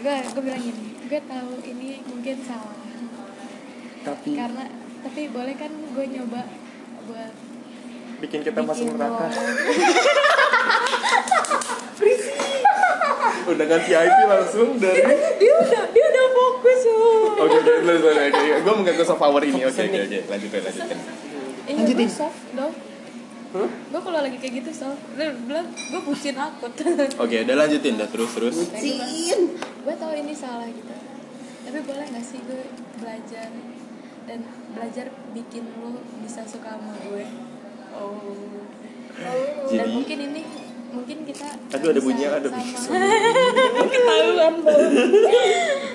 S4: 69.
S5: gue gue bilang gini gue tahu ini mungkin salah
S2: Hmm. tapi
S5: karena tapi boleh kan gue nyoba buat
S2: bikin kita masuk
S5: bikin
S2: neraka
S5: lo-
S2: undangan VIP langsung dari
S5: dia udah dia udah fokus loh
S2: oke oke terus oke oke gue mengganggu soft power ini oke oke oke lanjutkan lanjutkan
S5: iya gue soft dong gue kalau lagi kayak gitu soft Dia bilang gue bucin aku
S2: oke udah lanjutin dah terus terus
S5: gue tahu ini salah gitu tapi boleh nggak sih gue belajar dan belajar bikin lo bisa suka sama gue oh dan
S2: Jadi-
S5: mungkin ini mungkin kita
S2: Aduh, ada
S5: bisa
S2: bunyinya, ada bunyi.
S5: Mungkin ketahuan lo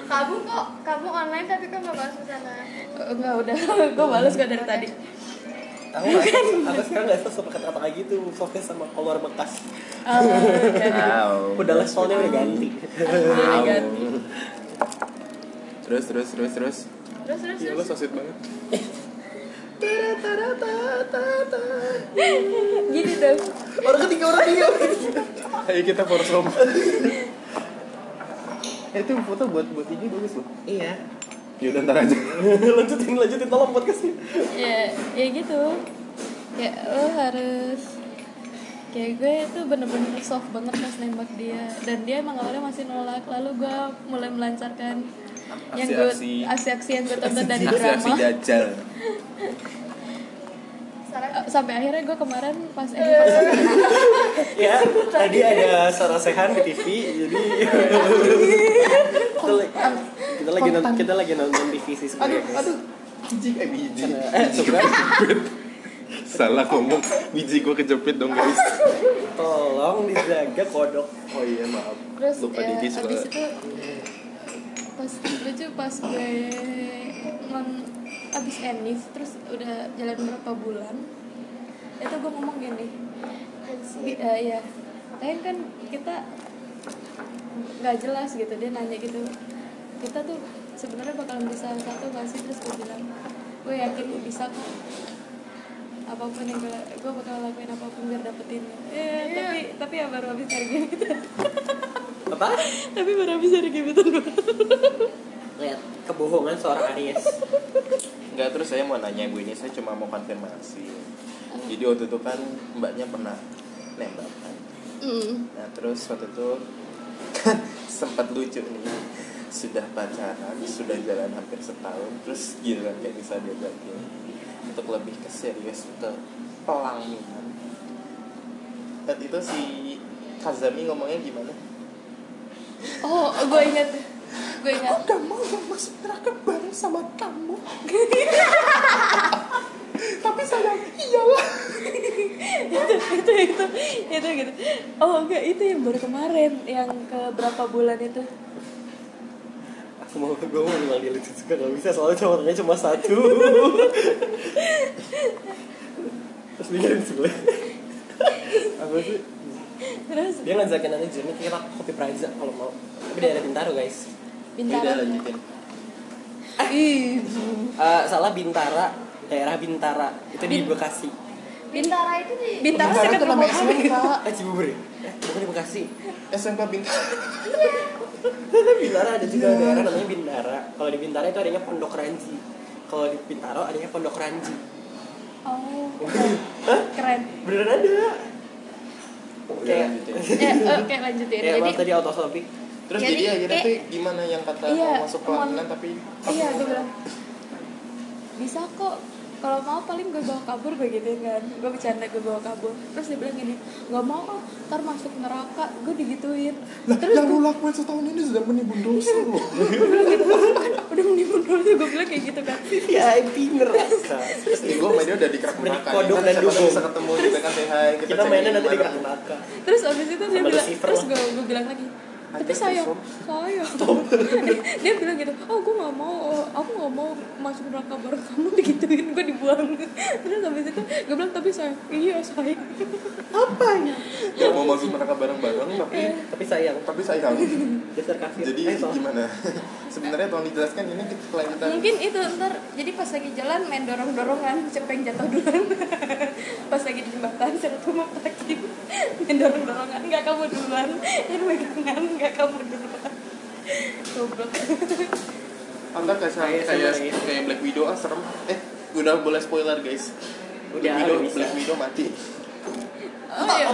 S3: Kamu kok, kamu online tapi kamu gak masuk sana.
S5: enggak Oh, udah gue balas gue dari tadi
S4: Aku nggak- aku sekarang nggak suka sama kata-kata kayak gitu fokus sama kolor bekas
S5: Ah, udah.
S4: udah lah soalnya udah ganti
S5: Udah ganti.
S2: terus terus terus terus
S3: Terus, terus,
S2: Iya
S3: terus.
S2: lo sosit banget
S5: gini dong
S4: orang ketiga orang ketiga
S2: Ayo kita force home Eh, Itu foto buat buat ini bagus loh
S4: iya
S2: Yaudah Ya ntar aja
S4: lanjutin lanjutin tolong podcastnya
S5: ya ya gitu ya lo harus kayak gue tuh bener-bener soft banget pas nembak dia dan dia emang awalnya masih nolak lalu gue mulai melancarkan yang gue
S2: Aksi-aksi.
S5: aksi-aksi yang gue tonton dari
S2: Aksi-aksi
S5: drama
S2: dajal
S5: Eh, sampai akhirnya gue kemarin pas edit
S4: ya tadi ada Sarah Sehan di TV jadi kita, lagi- kita lagi nonton kita lagi nonton TV sih sebenarnya guys.
S2: Biji eh biji
S4: Eh, sebenarnya,
S2: Salah ngomong Biji gua kejepit dong guys
S4: tolong dijaga kodok
S2: Oh iya maaf
S5: terus
S2: Lupa
S5: ya,
S2: digigit
S5: abis
S2: soalnya.
S5: itu pas lucu pas gue ngon abis enif terus udah jalan berapa bulan itu gue ngomong gini bi- eh, ya lain kan kita nggak jelas gitu dia nanya gitu kita tuh sebenarnya bakalan bisa satu gak sih terus gue bilang gue yakin bisa kok apapun yang gue gue bakal lakuin apapun biar dapetin lo." Eh, tapi tapi ya baru habis dari gitu
S4: apa
S5: tapi baru habis dari gebetan gue
S4: lihat kebohongan seorang Aries
S2: Enggak terus saya mau nanya bu ini Saya cuma mau konfirmasi Jadi waktu itu kan mbaknya pernah nembak kan
S5: Hmm.
S2: Nah terus waktu itu kan sempat lucu nih sudah pacaran, sudah jalan hampir setahun, terus giliran gak bisa diajakin untuk lebih ke serius ke pelaminan. Dan itu si Kazami ngomongnya gimana?
S5: oh gue ingat gue ingat
S2: Udah mau yang masuk neraka bareng sama kamu. Tapi sayang, iyalah. itu gitu oh enggak itu yang baru kemarin yang ke berapa bulan itu
S4: aku mau gue mau manggil itu juga nggak bisa soalnya cowoknya cuma satu terus dia di sebelah apa sih
S2: terus
S4: dia ngajakin anak jernih kita kopi praja kalau mau tapi daerah bintaro guys
S2: bintara
S1: lanjutin
S2: ih
S4: Eh, salah bintara daerah bintara itu di bekasi
S3: Bintara itu di
S2: bintara sih kan rumah kami
S4: eh cibubur ya eh, bukan di bekasi
S1: SMK Bintang
S4: Bintara ada juga daerah namanya Bintara. Kalau di Bintara itu adanya Pondok Ranji. Kalau di Bintaro adanya Pondok Ranji.
S2: oh keren
S4: Beneran ada.
S1: iya.
S4: Kayak
S2: ya oke lanjutin
S4: kayak
S2: jadi
S4: maaf tadi auto topic.
S1: Terus
S2: Jadi,
S1: jadi, akhirnya
S2: eh,
S1: tuh gimana yang kata
S2: iya,
S1: mau masuk
S2: mau-
S1: pelaminan tapi
S2: iya gue bilang bisa kok kalau mau paling gue bawa kabur gue gituin kan gue bercanda gue bawa kabur terus dia bilang gini nggak mau ah, ntar masuk neraka gue digituin terus
S1: yang
S2: gue
S1: lu lakuin setahun ini sudah menimbun dosa loh.
S2: bilang gitu "Oh, kan udah menimbun dulu gue bilang kayak gitu kan
S4: VIP neraka.
S1: Terus nih gue mainnya udah di kerak
S4: Seperti
S1: neraka.
S4: kodok
S1: ya kan?
S4: dan
S1: Siapa tahu
S4: dukun.
S1: bisa ketemu gitu kan say hi,
S4: Kita
S1: cek
S4: mainnya nanti di
S1: gimana.
S4: kerak neraka.
S2: terus abis itu dia
S4: Sama
S2: bilang
S4: Lucifer
S2: terus
S4: lah.
S2: gue gue bilang lagi tapi
S1: Ada
S2: sayang
S1: Lucifer.
S2: sayang dia bilang gitu oh gue nggak mau oh, aku nggak mau masuk neraka bareng kamu digituin gue dibuang terus abis itu gue bilang tapi sayang iya sayang apa ya
S1: Gak mau masuk neraka bareng-bareng tapi
S4: Tapi sayang
S1: tapi sayang.
S4: dasar kafir.
S1: Jadi
S4: Eh, salah.
S1: gimana? Sebenarnya tolong dijelaskan ini kita pelaminan.
S5: mungkin itu ntar jadi pas lagi jalan main dorong dorongan siapa yang jatuh duluan pas lagi di jembatan siapa tuh mau kaki main dorong dorongan nggak kamu duluan ini pegangan nggak kamu duluan goblok Oh,
S1: Anda kayak kayak
S4: Kayak
S1: kayak,
S4: sama ini.
S1: kayak Black Widow ah serem. Eh udah boleh spoiler guys.
S4: Udah,
S1: Black Widow,
S4: udah bisa.
S1: Black Widow mati.
S5: oh ya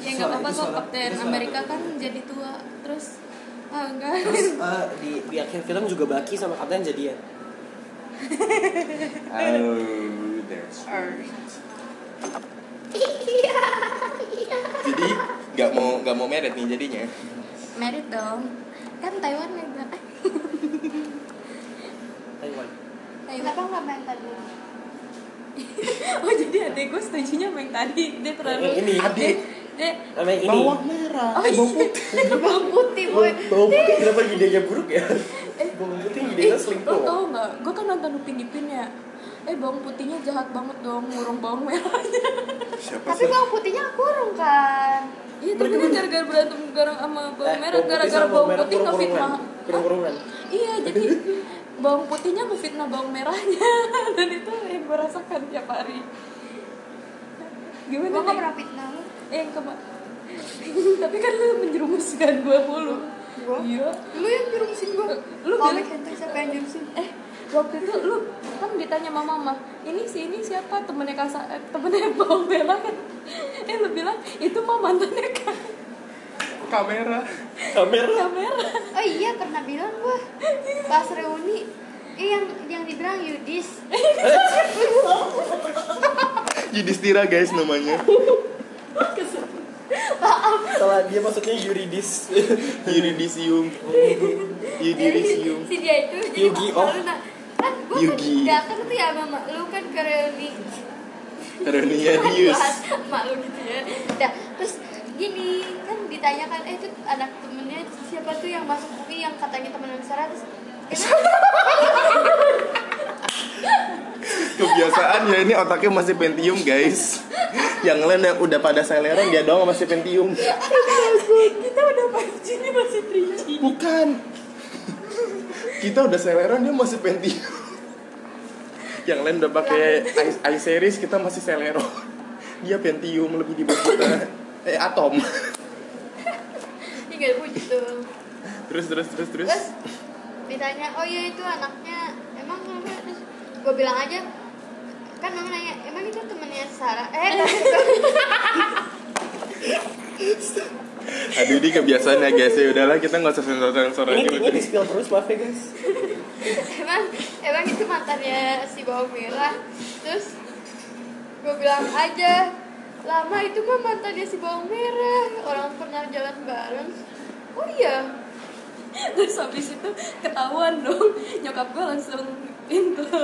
S5: ya nggak
S4: Suara,
S5: apa-apa
S4: itu
S5: kok
S4: suara,
S5: kapten
S4: itu suara.
S5: Amerika kan jadi tua terus ah enggak
S4: Terus eh, di, di akhir film juga Baki sama Kapten jadian.
S1: Oh, there's
S3: Iya. Iya.
S1: jadi nggak mau nggak mau meret nih jadinya
S5: merit dong kan Taiwan yang bilang, "Ah,
S4: Taiwan.
S5: Taiwan
S3: Kenapa nggak main tadi?
S5: oh jadi adek gue setujunya sama yang tadi dia Eh, terlalu
S4: Yang ini.
S5: dia, dia
S4: Namanya ini.
S1: bawang merah Eh,
S5: oh iya bawang putih boy
S4: Bawang putih kenapa idenya buruk ya?
S5: "Eh,
S4: Bawang putih idenya
S5: lo
S4: selingkuh.
S5: tau nggak gue kan nonton Upin Ipin ya eh bawang putihnya jahat banget dong ngurung bawang merahnya
S1: siapa
S3: Tapi bawang putihnya kurung kan.
S5: iya tapi kan gara-gara berantem gara sama bawang
S4: Eh,
S5: merah
S4: bawang putih
S5: gara-gara
S4: sama
S5: bawang
S4: merah
S5: putih ngefitnah
S4: kurung-kurungan. Kurung-kurungan.
S5: iya jadi bawang putihnya ngefitnah bawang merahnya dan itu yang gue rasakan tiap hari gimana
S3: Gua nggak
S5: Nek?
S3: pernah fitnah lu.
S5: Eh, yang kema- tapi kan lu menjerumuskan gue mulu
S3: Gua?
S5: iya
S3: Lu yang jurumusin gua.
S5: lu
S3: Komik
S5: bilang
S3: hentai siapa yang jurumusin?
S5: eh waktu itu lu kan ditanya sama mama ini si ini siapa temennya kasa eh, temennya bawang merah kan eh lu bilang itu mah mantannya kan
S1: kamera
S4: Kamera.
S5: kamera
S3: Oh iya pernah bilang gua pas reuni eh yang yang dibilang Yudis
S1: Yudhistira guys namanya
S4: Salah dia maksudnya yuridis.
S1: Yudisium Yudisium
S3: si dia itu jadi
S4: Yugi,
S3: mama
S4: oh.
S3: lu nah kan gua
S1: Yugi.
S3: kan datang tuh ya sama mak lu kan ke reuni Kan
S1: Karunia Dius
S3: Bahas mak lu gitu ya nah, terus gini kan ditanyakan eh itu anak temennya siapa tuh yang masuk UI yang katanya temenan Sarah terus
S1: kebiasaan ya ini otaknya masih Pentium guys yang lain yang udah pada Celeron dia doang masih Pentium
S5: kita udah 5G ini masih 3G
S1: bukan kita udah Celeron dia masih Pentium yang lain udah pakai i- i-series kita masih Celeron dia Pentium lebih di bawah kita eh Atom
S3: tinggal puji tuh
S1: terus terus terus terus
S3: terus ditanya oh iya itu anaknya emang kenapa terus gue bilang aja kan mama nanya emang itu temennya Sarah eh
S1: Aduh ini kebiasaan ya guys ya udahlah kita nggak usah sensor sensor
S4: Ini
S1: aja
S4: kayaknya di spill terus maaf ya guys.
S3: emang emang itu mantannya si bawang merah terus gue bilang aja lama itu mah mantannya si bawang merah orang pernah jalan bareng oh iya
S5: terus habis itu ketahuan dong nyokap gue langsung intro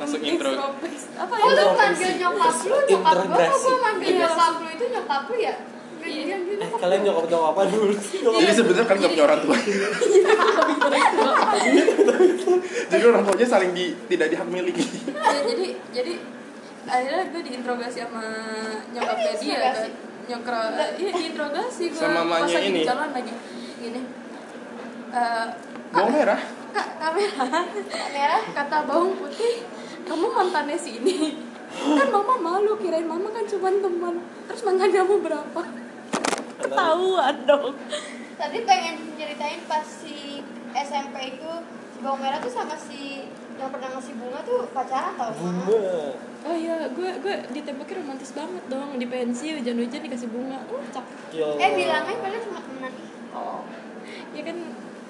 S8: Masuk intro.
S5: Extropex. apa
S3: Oh
S5: ya
S3: lu manggil nyokap lu, nyokap gua apa
S4: Intrograsi.
S3: gua manggil nyokap lu itu nyokap lu ya? Gak jadi yang gitu.
S4: Eh, kalian nyokap nyokap apa dulu?
S1: Jadi sebenarnya kan gak punya orang tua. Jadi orang tuanya saling di, tidak dihak miliki.
S5: Ya, jadi jadi akhirnya gue diinterogasi sama nyokapnya dia
S3: Diinterogasi?
S5: kan. nyokra iya diinterogasi gue
S8: Sama mamanya ini.
S5: di jalan lagi gini Eh,
S1: Bawang merah.
S5: kak kamera
S3: Merah.
S5: kata bawang putih kamu mantannya si ini kan mama malu kirain mama kan cuman teman terus mantan kamu berapa ketahuan dong
S3: Tadi pengen nyeritain pas si SMP itu si bawang merah tuh sama si yang pernah ngasih bunga tuh pacaran tau bunga.
S5: oh iya gue gue ditembaknya romantis banget dong di pensi hujan-hujan dikasih bunga uh cakep
S3: Eh bilangnya padahal cuma temenan.
S5: oh ya kan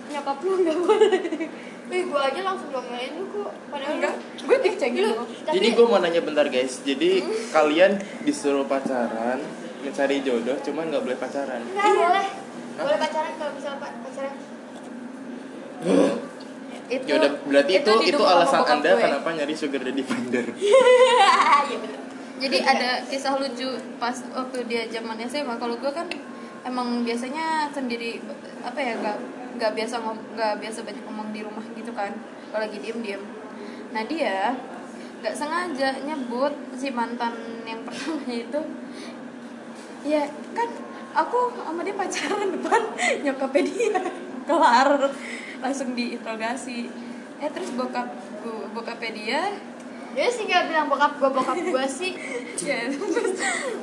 S5: nyokap lu nggak boleh
S3: Wih gua aja langsung diomelin lu kok. Padahal
S5: enggak
S3: lu-
S5: gue dicengin
S3: lu.
S5: loh
S3: Tapi
S1: Jadi gue mau nanya bentar guys. Jadi
S5: Hmm?
S1: kalian disuruh pacaran, mencari jodoh, cuman nggak boleh pacaran.
S3: Enggak boleh. Boleh pacaran kalau misalnya pa- pacaran.
S5: itu
S1: Ya udah berarti itu itu,
S5: didukung sama
S1: alasan
S5: bokap
S1: anda
S5: gue.
S1: kenapa nyari sugar daddy vendor.
S5: jadi ada kisah lucu pas waktu dia zaman SMA kalau gue kan emang biasanya sendiri apa ya gak nggak biasa ngom- nggak biasa banyak ngomong di rumah gitu kan kalau lagi diem diem nah dia nggak sengaja nyebut si mantan yang pertamanya itu ya kan aku sama dia pacaran depan nyokapnya dia kelar langsung diinterogasi eh terus bokap gue bokapnya dia
S3: Dia sih gak bilang bokap gua bokap gua sih.
S5: ya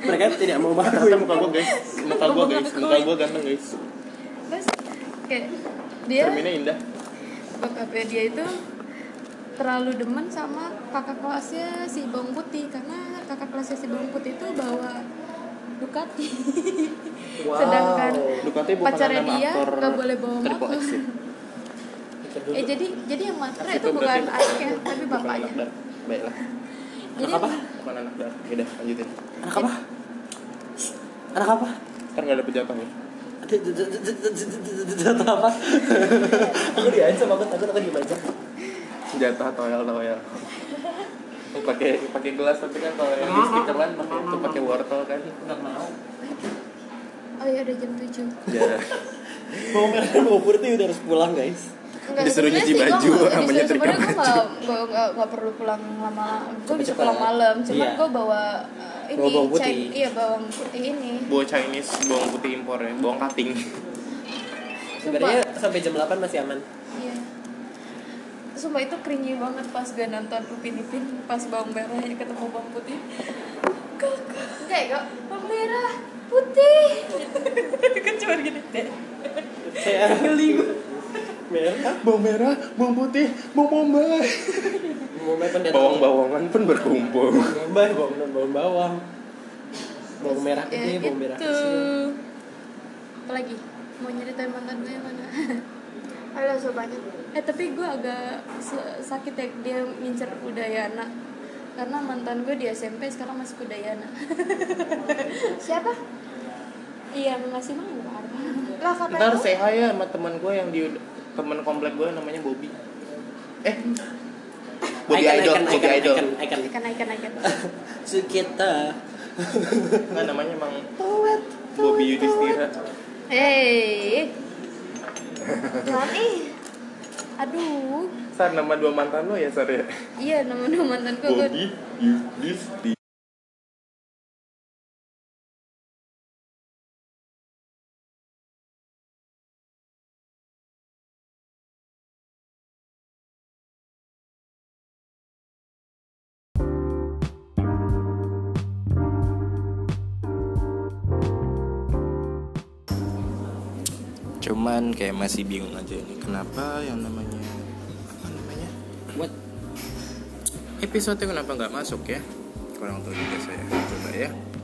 S4: Mereka tidak mau
S1: Ternyata
S4: mengakui.
S5: iya.
S1: muka gue guys, muka gue guys, muka gue ganteng guys.
S5: terus kayak dia
S1: Cerminnya indah.
S5: bokapnya dia itu terlalu demen sama kakak kelasnya si bawang putih karena kakak kelasnya si bawang putih itu bawa Ducati sedangkan
S1: Ducati bukan
S5: pacarnya
S1: nama
S5: dia
S1: aktor
S5: nggak boleh bawa
S1: Triple
S5: motor
S1: X ya?
S5: eh jadi jadi yang matre
S1: Tapi
S5: itu
S1: itu
S5: bukan
S1: berarti-
S5: anaknya tapi
S1: Bukan
S5: bapaknya
S1: anak dark. Baiklah,
S5: jadi
S4: apa?
S1: bukan anak dark. Yaudah lanjutin.
S4: Anak apa? Anak apa?
S1: Kan nggak ada jatah ya.
S4: Jatuh apa? aku diancam, aku takut aku diem aja.
S1: Jatah toel toel. Ini pakai pakai gelas tapi kan kalau yang di stikeran pakai itu pakai wortel kan.
S4: Nggak mau.
S5: oh ya udah jam 7
S1: Ya.
S4: Mau merah mau putih udah harus pulang guys.
S5: Enggak,
S1: Disuruh
S5: sebenarnya
S1: nyuci
S5: sih gua
S1: baju
S5: nggak-
S1: sama
S5: disuruh-
S1: nyetrika
S5: sebenarnya gua nggak- gua nggak nggak perlu pulang lama gue bisa
S4: Cepet-cepet.
S5: pulang malam cuman
S4: Iya.
S5: gue bawa eh, ini
S4: Bawa bawang putih.
S5: cai- iya bawang putih ini
S1: Bawa Chinese, bawang putih impor ya, bawang kating.
S4: Sebenarnya sampai jam 8 masih aman.
S5: Iya. Sumpah itu cringy banget pas gue nonton Upin Ipin pas bawang merah ini ketemu bawang putih.
S3: Enggak ya, Kak?
S5: Bawang merah putih. kan cuma gini deh.
S4: Saya geli gue. Merah,
S1: Bawang merah, bawang putih, bawang bombay.
S4: mau merah pun dia tahu.
S1: Bawang-bawangan pun berkumpul.
S4: bawang merah, bawang merah, bawang bawang. Bawang merah putih, bawang merah
S5: itu.
S4: kecil.
S5: Ya gitu. Apalagi mau nyeritain mantan gue yang mana?
S3: Ada so banyak.
S5: eh tapi gue agak se- sakit ya dia ngincer Udayana karena mantan gue di SMP sekarang masih Udayana
S3: Siapa?
S5: iya masih mawar
S3: Lah kata
S1: Ntar
S3: gua.
S1: saya ya sama teman gue yang di teman komplek gue namanya Bobby. Eh, Bobby
S4: Icon,
S1: Idol,
S4: icon,
S1: Bobby
S4: icon,
S1: Idol.
S4: icon, icon.
S5: ikan ikan ikan
S4: Sukita.
S1: Nah, namanya emang Bobby Yudhistira.
S5: Hei,
S3: Nanti.
S5: aduh,
S1: Sar nama dua mantan lo ya Sar ya?
S5: iya nama dua mantan gue gue
S1: Bobby Yudhistira. Cuman kayak masih bingung aja ini kenapa yang namanya apa namanya? What? Episode kenapa nggak masuk ya? Kurang tahu juga saya. Coba ya.